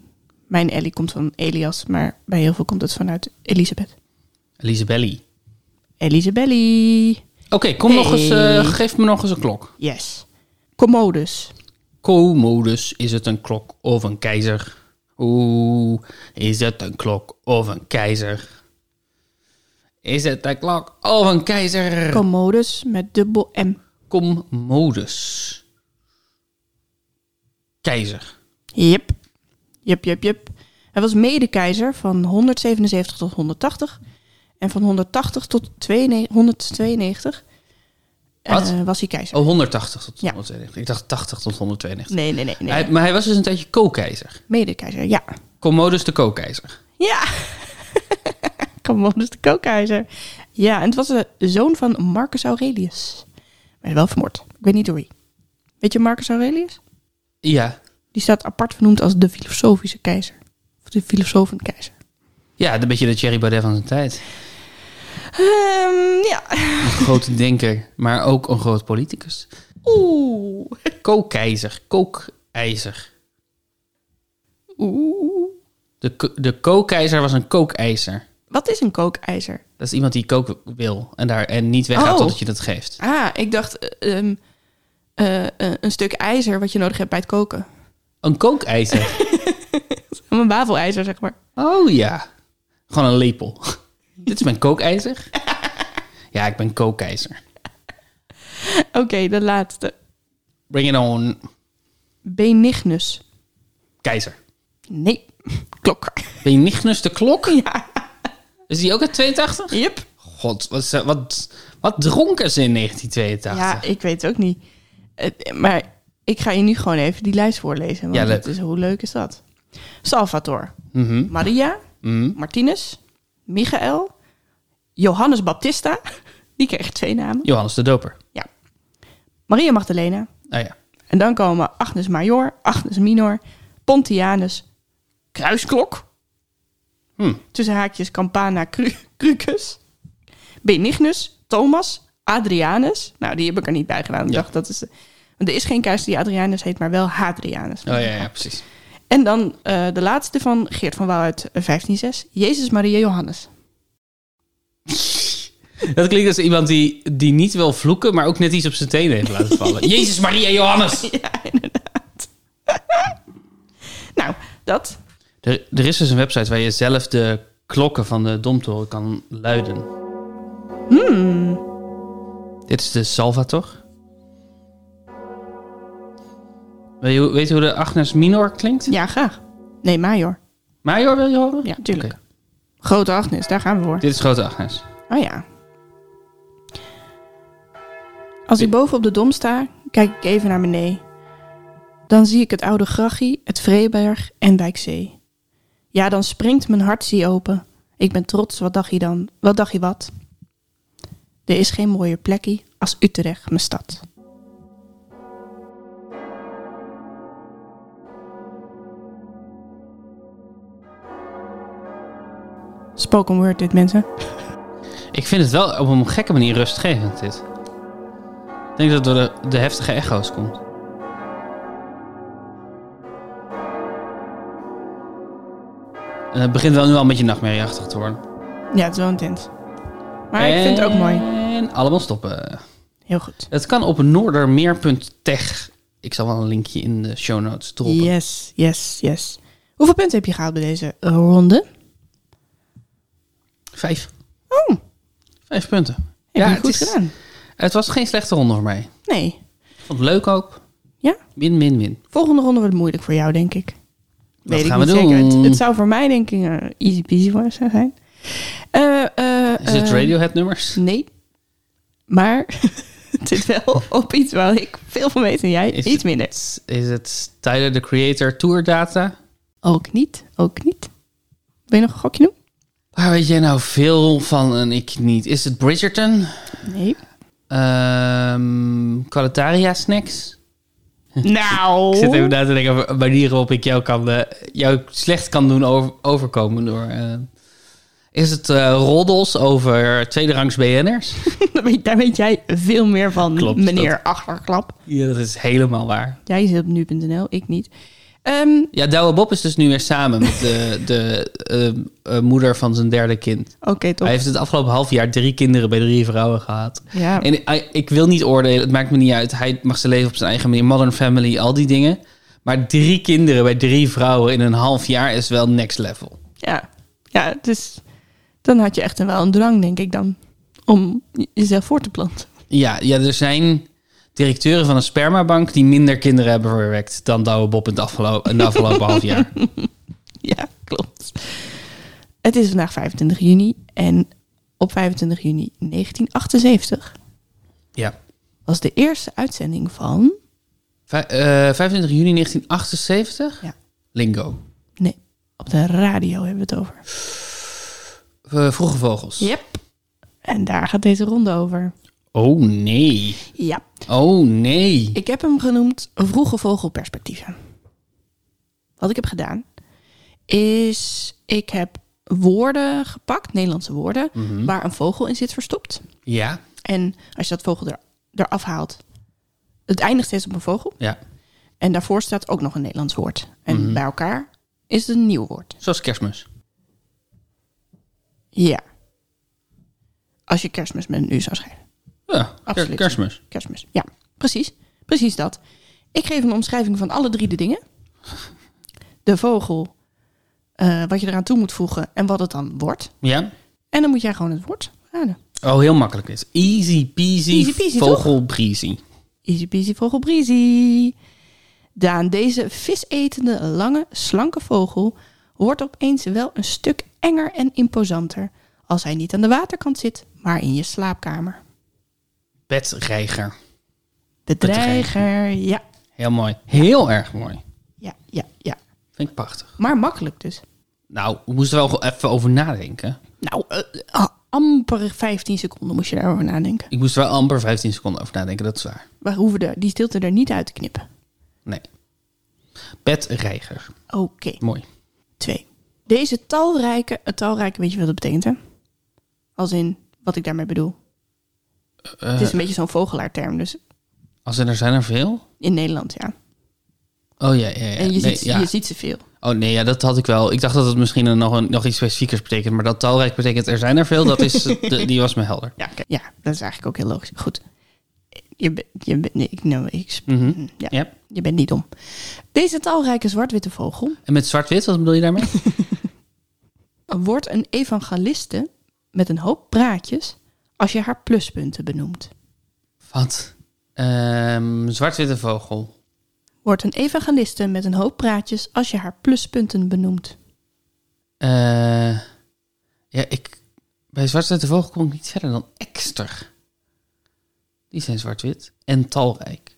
B: Mijn Ellie komt van Elias, maar bij heel veel komt het vanuit Elisabeth.
A: Elisabelli.
B: Elisabelli.
A: Oké, kom nog
B: Hey.
A: eens. eh, geef me nog eens een klok.
B: Yes. Commodus.
A: Commodus, is het een klok of een keizer? Oeh, is het een klok of een keizer? Is het een klok of een keizer?
B: Commodus met dubbel M.
A: Commodus. Keizer.
B: Jep. Jep, jep, jep. Hij was medekeizer van 177 tot 180. En van 180 tot 92 192 eh,
A: Wat?
B: was hij keizer.
A: Oh, 180 tot
B: Ja.
A: 192. Ik dacht 80 tot 192.
B: Nee, nee, nee. nee.
A: Hij- maar hij was dus een tijdje co-keizer.
B: Medekeizer, ja.
A: Commodus de co-keizer.
B: Ja. Commodus de kookijzer. Ja, en het was de zoon van Marcus Aurelius. Maar wel vermoord. Ik weet niet door wie. Weet je Marcus Aurelius?
A: Ja.
B: Die staat apart vernoemd als de filosofische keizer. Of de filosofenkeizer.
A: Ja, een beetje de Thierry Baudet van zijn tijd.
B: Ehm ja.
A: Een grote denker, maar ook een groot politicus.
B: Oeh.
A: Co-keizer. Kookijzer.
B: Oeh.
A: De, ko- de kookijzer was een kookijzer.
B: Wat is een kookijzer?
A: Dat is iemand die koken wil en, daar, en niet weggaat
B: Oh.
A: totdat je dat geeft.
B: Ah, ik dacht... eh, ehm, eh, eh, een stuk ijzer wat je nodig hebt bij het koken.
A: Een kookijzer.
B: Een wafelijzer, zeg maar.
A: Oh ja. Gewoon een lepel. Dit is mijn kookijzer. Ja, ik ben kookijzer.
B: Oké, de laatste.
A: Bring it on.
B: Benignus.
A: Keizer.
B: Nee, klok.
A: Benignus de klok? Is die ook uit 82?
B: Yep.
A: God, wat, ze- wat, wat dronken ze in 1982?
B: Ja, ik weet het ook niet. Het- maar ik ga je nu gewoon even die lijst voorlezen. Want
A: Ja, leuk. Mhm.
B: het is, hoe leuk is dat? Salvator. Maria. Martinez. Michael. Johannes Baptista. Die kreeg twee namen.
A: Johannes de Doper.
B: Ja. Maria Magdalena.
A: Ah ja.
B: En dan komen Agnes Major, Agnes Minor, Pontianus, Kruisklok.
A: Hm.
B: Tussen haakjes Campana Cru Crucus, Benignus, Thomas, Adrianus. Nou, die heb ik er niet bij gedaan. Ik
A: Ja.
B: dacht, dat is... de- Want er is geen keizer die Adrianus heet, maar wel Hadrianus.
A: Oh ja, ja, precies.
B: En dan eh, de laatste van Geert van Wouw uit eh, 1506. Jezus Maria Johannes.
A: Dat klinkt als iemand die, die niet wil vloeken, maar ook net iets op zijn tenen heeft laten vallen. Jezus, Maria, Johannes!
B: Ja, inderdaad. nou, dat.
A: Er, er is dus een website waar je zelf de klokken van de domtoren kan luiden.
B: Hmm.
A: Dit is de Salvator. Wil je weet je hoe de Agnes Minor klinkt?
B: Ja, graag. Nee, Major.
A: Major wil je horen?
B: Ja, tuurlijk.
A: Oké.
B: Grote Agnes, daar gaan we voor.
A: Dit is grote Agnes.
B: Oh ja. Als ik boven op de dom sta, kijk ik even naar beneden. Dan zie ik het oude Grachie, het Vreeberg en Wijkzee. Ja, dan springt mijn hart zie open. Ik ben trots, wat dacht je dan? Wat dacht je wat? Er is geen mooier plekje als Utrecht, mijn stad. Spoken word dit, mensen.
A: Ik vind het wel op een gekke manier rustgevend, dit. Ik denk dat het door de, de heftige echo's komt. En Eh, het begint wel nu al een beetje nachtmerrieachtig te worden.
B: Ja, het is wel intens. Maar ik vind het ook mooi.
A: En allemaal stoppen.
B: Heel goed.
A: Het kan op noordermeer.tech. Ik zal wel een linkje in de show notes droppen.
B: Yes, yes, yes. Hoeveel punten heb je gehaald bij deze ronde?
A: Vijf.
B: Oh,
A: Vijf punten.
B: heb
A: Ja,
B: je
A: het
B: goed
A: is-
B: gedaan.
A: Het was geen slechte ronde voor mij.
B: Nee.
A: Ik vond het leuk ook.
B: Ja?
A: Win, win, win.
B: Volgende ronde wordt moeilijk voor jou, denk ik.
A: Wat
B: ik
A: gaan we
B: niet
A: doen?
B: zeker. Het, het zou voor mij, denk ik, eh, easy peasy voor zou zijn. Eh, eh,
A: Is het
B: eh,
A: Radiohead nummers?
B: Nee. Maar het zit wel op iets waar ik veel van weet en jij
A: Is
B: iets minder.
A: Is het Tyler, the Creator, Tour Data?
B: Ook niet, ook niet. Wil je nog een gokje doen?
A: Waar weet jij nou veel van en ik niet? Is het Bridgerton?
B: Nee.
A: Ehm Calataria Snacks?
B: Nou.
A: Ik zit even na te denken over manieren waarop ik jou, kan, eh, jou slecht kan doen over- overkomen. Door, eh, is het eh, roddels over tweederangs BN'ers?
B: Daar weet, daar weet jij veel meer van,
A: Klopt,
B: meneer Achterklap.
A: ja, dat is helemaal waar.
B: Jij zit op nu.nl, ik niet. Ehm,
A: Ja, Douwe Bob is dus nu weer samen met de, de eh, eh, moeder van zijn derde kind.
B: Oké, toch.
A: Hij heeft het afgelopen half jaar drie kinderen bij drie vrouwen gehad.
B: Ja.
A: En eh, ik wil niet oordelen, het maakt me niet uit. Hij mag zijn leven op zijn eigen manier, Modern Family, al die dingen. Maar drie kinderen bij drie vrouwen in een half jaar is wel next level.
B: Ja. ja, dus dan had je echt een- wel een drang, denk ik dan, om je- jezelf voor te planten.
A: Ja, ja, er zijn directeuren van een spermabank die minder kinderen hebben verwerkt dan Douwe Bob in het afgelopen, in de afgelopen half jaar.
B: Ja, klopt. Het is vandaag 25 juni en op 25 juni 1978
A: Ja.
B: was de eerste uitzending van...
A: Vij- eh, 25 juni 1978?
B: Ja.
A: Lingo.
B: Nee, op de radio hebben we het over.
A: Eh, vroege vogels.
B: Yep. En daar gaat deze ronde over.
A: Oh nee.
B: Ja.
A: Oh nee.
B: Ik heb hem genoemd vroege vogelperspectieven. Wat ik heb gedaan is ik heb woorden gepakt, Nederlandse woorden, waar een vogel in zit verstopt.
A: Ja.
B: En als je dat vogel er, eraf haalt, het eindigt steeds op een vogel.
A: Ja.
B: En daarvoor staat ook nog een Nederlands woord. En bij elkaar is het een nieuw woord.
A: Zoals kerstmis.
B: Ja. Als je kerstmis met een U zou schrijven.
A: Ja, ker-
B: Absoluut.
A: kerstmis.
B: Kerstmis. Ja, precies. Precies dat. Ik geef een omschrijving van alle drie de dingen. De vogel, eh, wat je eraan toe moet voegen en wat het dan wordt.
A: Ja?
B: En dan moet jij gewoon het woord raden.
A: Oh, heel makkelijk is. Easy peasy,
B: Easy peasy,
A: vogelbreezy.
B: Easy peasy vogel breezy. Daan, deze visetende, lange, slanke vogel wordt opeens wel een stuk enger en imposanter als hij niet aan de waterkant zit, maar in je slaapkamer.
A: Bedreiger.
B: De
A: Bedreiger.
B: dreiger, ja,
A: Heel mooi. Heel erg mooi.
B: ja, ja, ja.
A: Vind ik prachtig.
B: Maar makkelijk dus.
A: Nou, we moesten wel even over nadenken.
B: Nou, eh, ah, amper 15 seconden moest je daarover nadenken.
A: Ik moest er wel amper 15 seconden over nadenken, dat is waar.
B: We hoeven er, die stilte er niet uit te knippen.
A: Nee. Bedreiger.
B: Oké,
A: Mooi.
B: twee. Deze talrijke, het talrijke, weet je wat dat betekent hè? Als in, wat ik daarmee bedoel.
A: Eh,
B: Het is een beetje zo'n vogelaarterm, dus
A: als in er zijn er veel?
B: in Nederland, ja.
A: Oh ja, ja, ja.
B: en je,
A: Nee,
B: ziet,
A: ja.
B: je ziet ze veel.
A: Oh nee, ja, dat had ik wel. Ik dacht dat het misschien een- nog, een, nog iets specifiekers betekent. Maar dat talrijk betekent er zijn er veel, dat is, de- die was me helder.
B: Ja, kijk, ja, dat is eigenlijk ook heel logisch. Goed. Je, bent- je, bent- nee, ik, nou, ik, sp-
A: Mhm.
B: ja,
A: Ja.
B: Je bent niet dom. Deze talrijke zwart-witte vogel
A: En met zwart-wit, wat bedoel je daarmee?
B: wordt een evangeliste met een hoop praatjes als je haar pluspunten benoemt.
A: wat? Ehm, zwart-witte vogel.
B: Wordt een evangeliste met een hoop praatjes als je haar pluspunten benoemt.
A: Eh, ja, ik... Bij zwart-witte vogel kom ik niet verder dan ekster. Die zijn zwart-wit. En talrijk.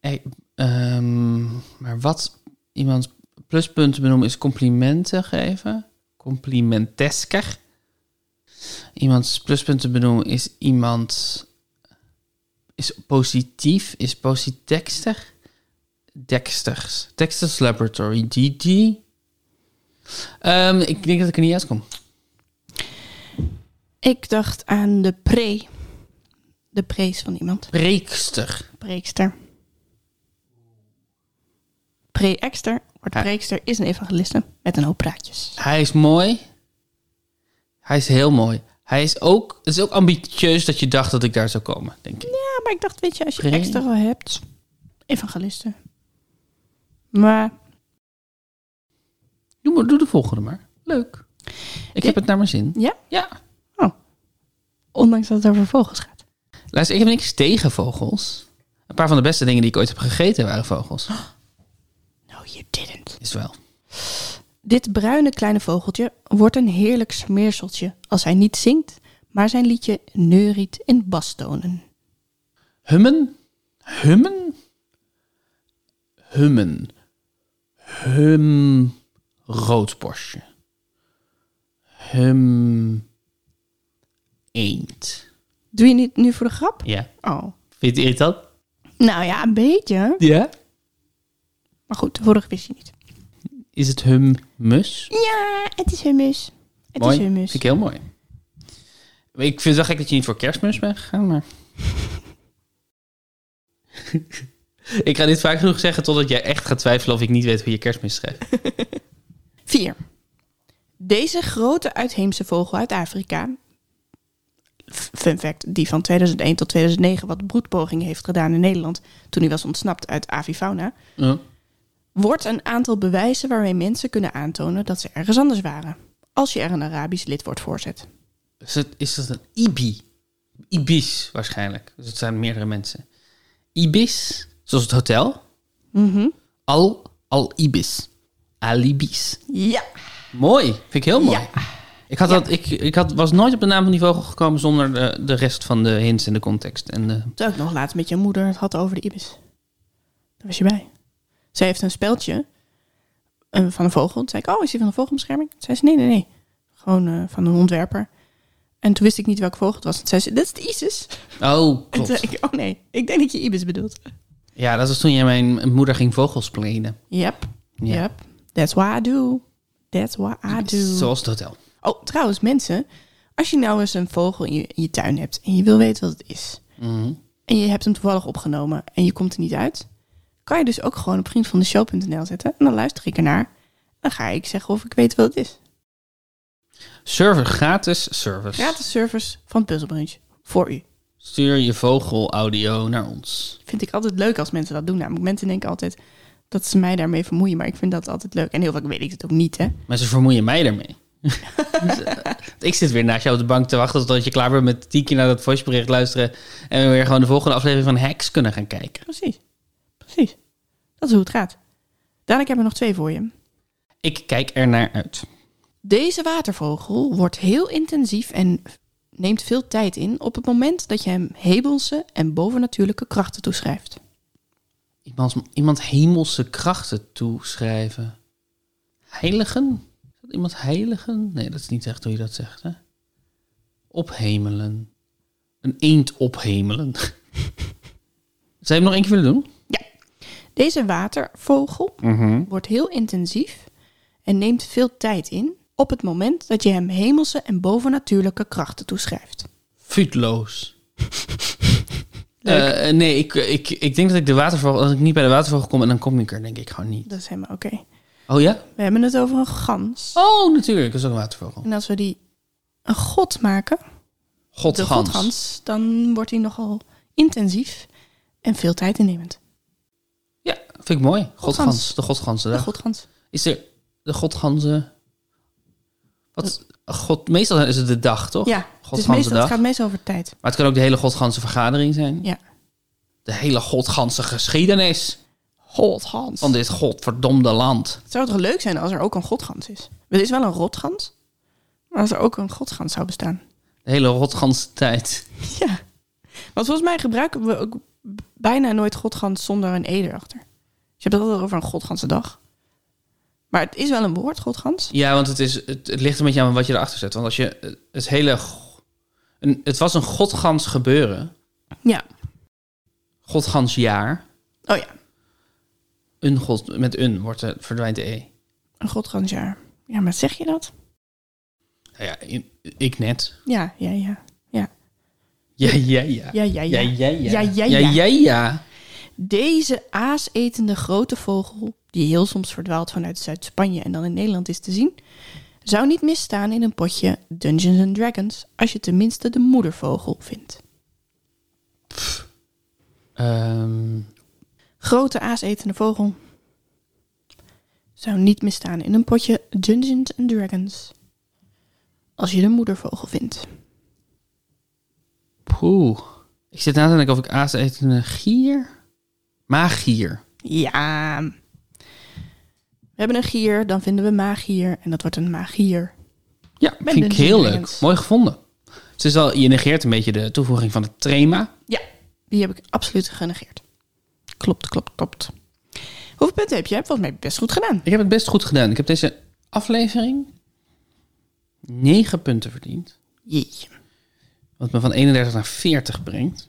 A: Eh, ehm, maar wat iemand pluspunten benoemen is complimenten geven. Complimentesker. Iemands pluspunten benoemen is iemand... Is positief, is positexter. Dexters. Dexter's Laboratory, DD. Ehm, ik denk dat ik er niet uitkom.
B: Ik dacht aan de pre. De prees van iemand.
A: Preekster.
B: Preekster. Pre-ekster wordt
A: Ja.
B: preekster is een evangeliste met een hoop praatjes.
A: Hij is mooi. Hij is heel mooi. Hij is ook, het is ook ambitieus dat je dacht dat ik daar zou komen, denk ik.
B: Ja, maar ik dacht, weet je, als je
A: Pre-
B: extra al hebt, evangeliste. Maar
A: Doe, maar, doe de volgende maar. Leuk. Ik heb het naar mijn zin.
B: Ja?
A: Ja.
B: ondanks dat het over vogels gaat.
A: Luister, ik heb niks tegen vogels. Een paar van de beste dingen die ik ooit heb gegeten waren vogels.
B: No, you didn't.
A: Is wel.
B: Dit bruine kleine vogeltje wordt een heerlijk smeerseltje als hij niet zingt, maar zijn liedje neuriet in bastonen.
A: Hummen? Hummen? Hummen. Hum. Roodborstje. Hum. Eend.
B: Doe je niet nu voor de grap?
A: Ja.
B: Oh.
A: Vindt je dat?
B: Nou ja, een beetje.
A: Ja.
B: Maar goed, de vorige wist je niet.
A: Is het hummus?
B: Ja, het is hummus. Het
A: mooi.
B: is hummus.
A: Vind ik heel mooi. Ik vind het wel gek dat je niet voor kerstmis bent gegaan, maar... ik ga dit vaak genoeg zeggen totdat jij echt gaat twijfelen of ik niet weet hoe je kerstmis schrijft.
B: 4. Deze grote uitheemse vogel uit Afrika, f- fun fact, die van 2001 tot 2009 wat broedpogingen heeft gedaan in Nederland toen hij was ontsnapt uit avifauna,
A: Ja.
B: wordt een aantal bewijzen waarmee mensen kunnen aantonen dat ze ergens anders waren, als je er een Arabisch lidwoord voor zet.
A: Is, Dus het, is dat een ibi? Ibis waarschijnlijk. Dus het zijn meerdere mensen. Ibis, zoals het hotel.
B: Mhm.
A: Al, al ibis. Alibis.
B: Ja.
A: Mooi. Vind ik heel mooi.
B: Ja.
A: Ik, had dat, ik, ik had, was nooit op de naam van die vogel gekomen zonder de, de rest van de hints en de context. En de,
B: Terwijl ik nog laatst met je moeder het had over de ibis. Daar was je bij. Zij heeft een speldje eh, van een vogel. Toen zei ik, oh, is die van een vogelbescherming? Toen zei ze, nee, nee, nee. Gewoon eh, van een ontwerper. En toen wist ik niet welke vogel het was. Toen zei ze, dat is de Isis.
A: oh,
B: En toen zei
A: klopt.
B: ik, oh nee, ik denk dat je ibis bedoelt.
A: Ja, dat was toen jij mijn moeder ging vogels plenen.
B: Yep,
A: Ja.
B: yep. That's what I do. That's what I do.
A: Zoals het hotel.
B: Oh, trouwens, mensen. Als je nou eens een vogel in je, in je tuin hebt en je wil weten wat het is.
A: Mhm.
B: en je hebt hem toevallig opgenomen en je komt er niet uit, kan je dus ook gewoon op vriendvandeshow.nl zetten en dan luister ik ernaar. Dan ga ik zeggen of ik weet wat het is.
A: Server, gratis service.
B: Gratis service van Puzzlebrunch voor u.
A: Stuur je vogelaudio naar ons.
B: Vind ik altijd leuk als mensen dat doen. Namelijk, mensen denken altijd dat ze mij daarmee vermoeien. Maar ik vind dat altijd leuk. En heel vaak weet ik het ook niet, hè.
A: Maar ze vermoeien mij daarmee. Dus, eh, ik zit weer naast jou op de bank te wachten totdat je klaar bent met tien keer naar dat voicebericht luisteren. En we weer gewoon de volgende aflevering van Hacks kunnen gaan kijken.
B: Precies. Precies. Dat is hoe het gaat. Daan, ik heb er nog twee voor je.
A: Ik kijk er naar uit.
B: Deze watervogel wordt heel intensief en neemt veel tijd in op het moment dat je hem hemelse en bovennatuurlijke krachten toeschrijft.
A: Iemand, iemand hemelse krachten toeschrijven. Heiligen? Is dat iemand heiligen? Nee, dat is niet echt hoe je dat zegt, hè? Ophemelen. Een eend ophemelen. Zou je hem nog één keer willen doen?
B: Ja. Deze watervogel
A: Mhm.
B: wordt heel intensief en neemt veel tijd in op het moment dat je hem hemelse en bovennatuurlijke krachten toeschrijft.
A: Futloos. Eh, nee, ik, ik, ik denk dat ik de watervogel... Als ik niet bij de watervogel kom en dan kom ik er denk ik gewoon niet.
B: Dat is helemaal oké.
A: Oh ja?
B: We hebben het over een gans.
A: Oh, natuurlijk. Dat is ook een watervogel.
B: En als we die een god maken, de
A: Godgans.
B: godgans, dan wordt hij nogal intensief en veel tijd innemend.
A: Ja, vind ik mooi. Godgans.
B: Godgans.
A: De godganse
B: De
A: dag.
B: godgans.
A: Is er de godganzen... Wat? God, meestal is het de dag, toch?
B: Ja, dus
A: Godganse
B: meestal, het
A: Oh, dag.
B: gaat meestal over tijd.
A: Maar het kan ook de hele godganse vergadering zijn.
B: Ja.
A: De hele godganse geschiedenis
B: Godgans.
A: van dit godverdomde land.
B: Het zou toch leuk zijn als er ook een godgans is? Er is wel een rotgans, maar als er ook een godgans zou bestaan.
A: De hele godganse tijd.
B: Ja. Want volgens mij gebruiken we ook b- bijna nooit godgans zonder een eder achter. Dus je hebt het altijd over een godganse dag. Maar het is wel een woord, godgans.
A: Ja, want het, is, het, het ligt een beetje aan wat je erachter zet. Want als je eh, het hele... go- Een, het was een godgans gebeuren.
B: Ja.
A: Godgans jaar.
B: Oh ja,
A: Een god, met een wordt, de- verdwijnt de e.
B: een godgansjaar. Ja, maar zeg je dat?
A: Nou ja, in- ik net.
B: Ja, ja, ja.
A: Ja, ja, ja.
B: Ja, ja, ja.
A: ja, ja.
B: Ja, ja,
A: ja,
B: ja.
A: ja, ja.
B: Deze aasetende grote vogel, die heel soms verdwaalt vanuit Zuid-Spanje en dan in Nederland is te zien, zou niet misstaan in een potje Dungeons and Dragons als je tenminste de moedervogel vindt.
A: Ehm,
B: Grote aasetende vogel zou niet misstaan in een potje Dungeons and Dragons als je de moedervogel vindt.
A: poeh. Ik zit na te denken of ik aas eet een gier? Magier.
B: Ja. We hebben een gier, dan vinden we magier en dat wordt een magier.
A: Ja,
B: Met
A: vind ik
B: Dungeons
A: heel
B: and
A: leuk.
B: Dragons.
A: Mooi gevonden. Dus Het is wel, je negeert een beetje de toevoeging van het trema.
B: Ja, die heb ik absoluut genegeerd. Klopt, klopt, klopt. Hoeveel punten heb je? Volgens mij heb je het best goed gedaan.
A: Ik heb het best goed gedaan. Ik heb deze aflevering 9 punten verdiend.
B: Jeetje.
A: Wat me van 31 naar 40 brengt.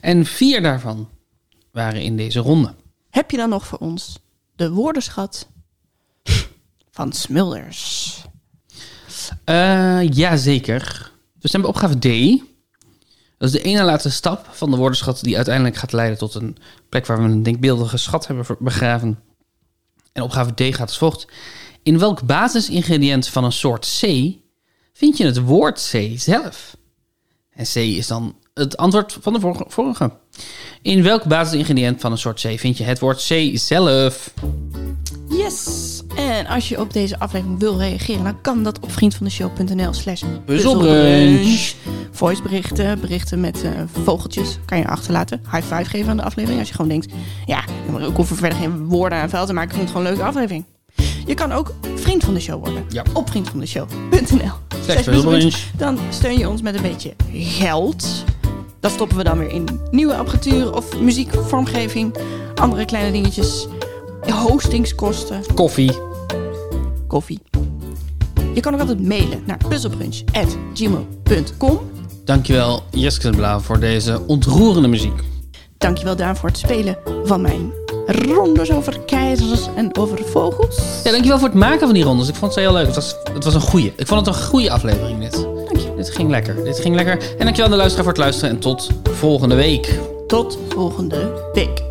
A: En vier daarvan waren in deze ronde.
B: Heb je dan nog voor ons de woordenschat van Smulders?
A: Eh jazeker. We zijn bij opgave D. Dat is de ene laatste stap van de woordenschat die uiteindelijk gaat leiden tot een plek waar we een denkbeeldige schat hebben ver- begraven. En opgave D gaat als volgt. In welk basisingrediënt van een soort C vind je het woord C zelf? En C is dan het antwoord van de vorige- vorige. In welk basisingrediënt van een soort C vind je het woord C zelf?
B: Yes! En als je op deze aflevering wil reageren, dan kan dat op vriendvandeshow.nl slash
A: Puzzelbrunch.
B: Voiceberichten, berichten met eh, vogeltjes kan je achterlaten. High five geven aan de aflevering als je gewoon denkt... ja, maar ik hoef er verder geen woorden aan vuil te maken. Ik vond het gewoon een leuke aflevering. Je kan ook vriend van de show worden.
A: Ja.
B: Op vriendvandeshow.nl
A: Slash
B: puzzelbrunch. Dan steun je ons met een beetje geld. Dat stoppen we dan weer in nieuwe apparatuur of muziek, vormgeving, andere kleine dingetjes, hostingskosten
A: Koffie.
B: koffie. Je kan ook altijd mailen naar puzzelbrunch.gmail.com.
A: Dankjewel Jeske de Blauw voor deze ontroerende muziek.
B: Dankjewel Daan voor het spelen van mijn rondes over keizers en over vogels.
A: Ja, dankjewel voor het maken van die rondes. Ik vond ze heel leuk. Het was, het was een goeie. Ik vond het een goede aflevering dit.
B: Dankjewel.
A: Dit ging lekker. Dit ging lekker. En dankjewel aan de luisteraar voor het luisteren. En tot volgende week.
B: Tot volgende week.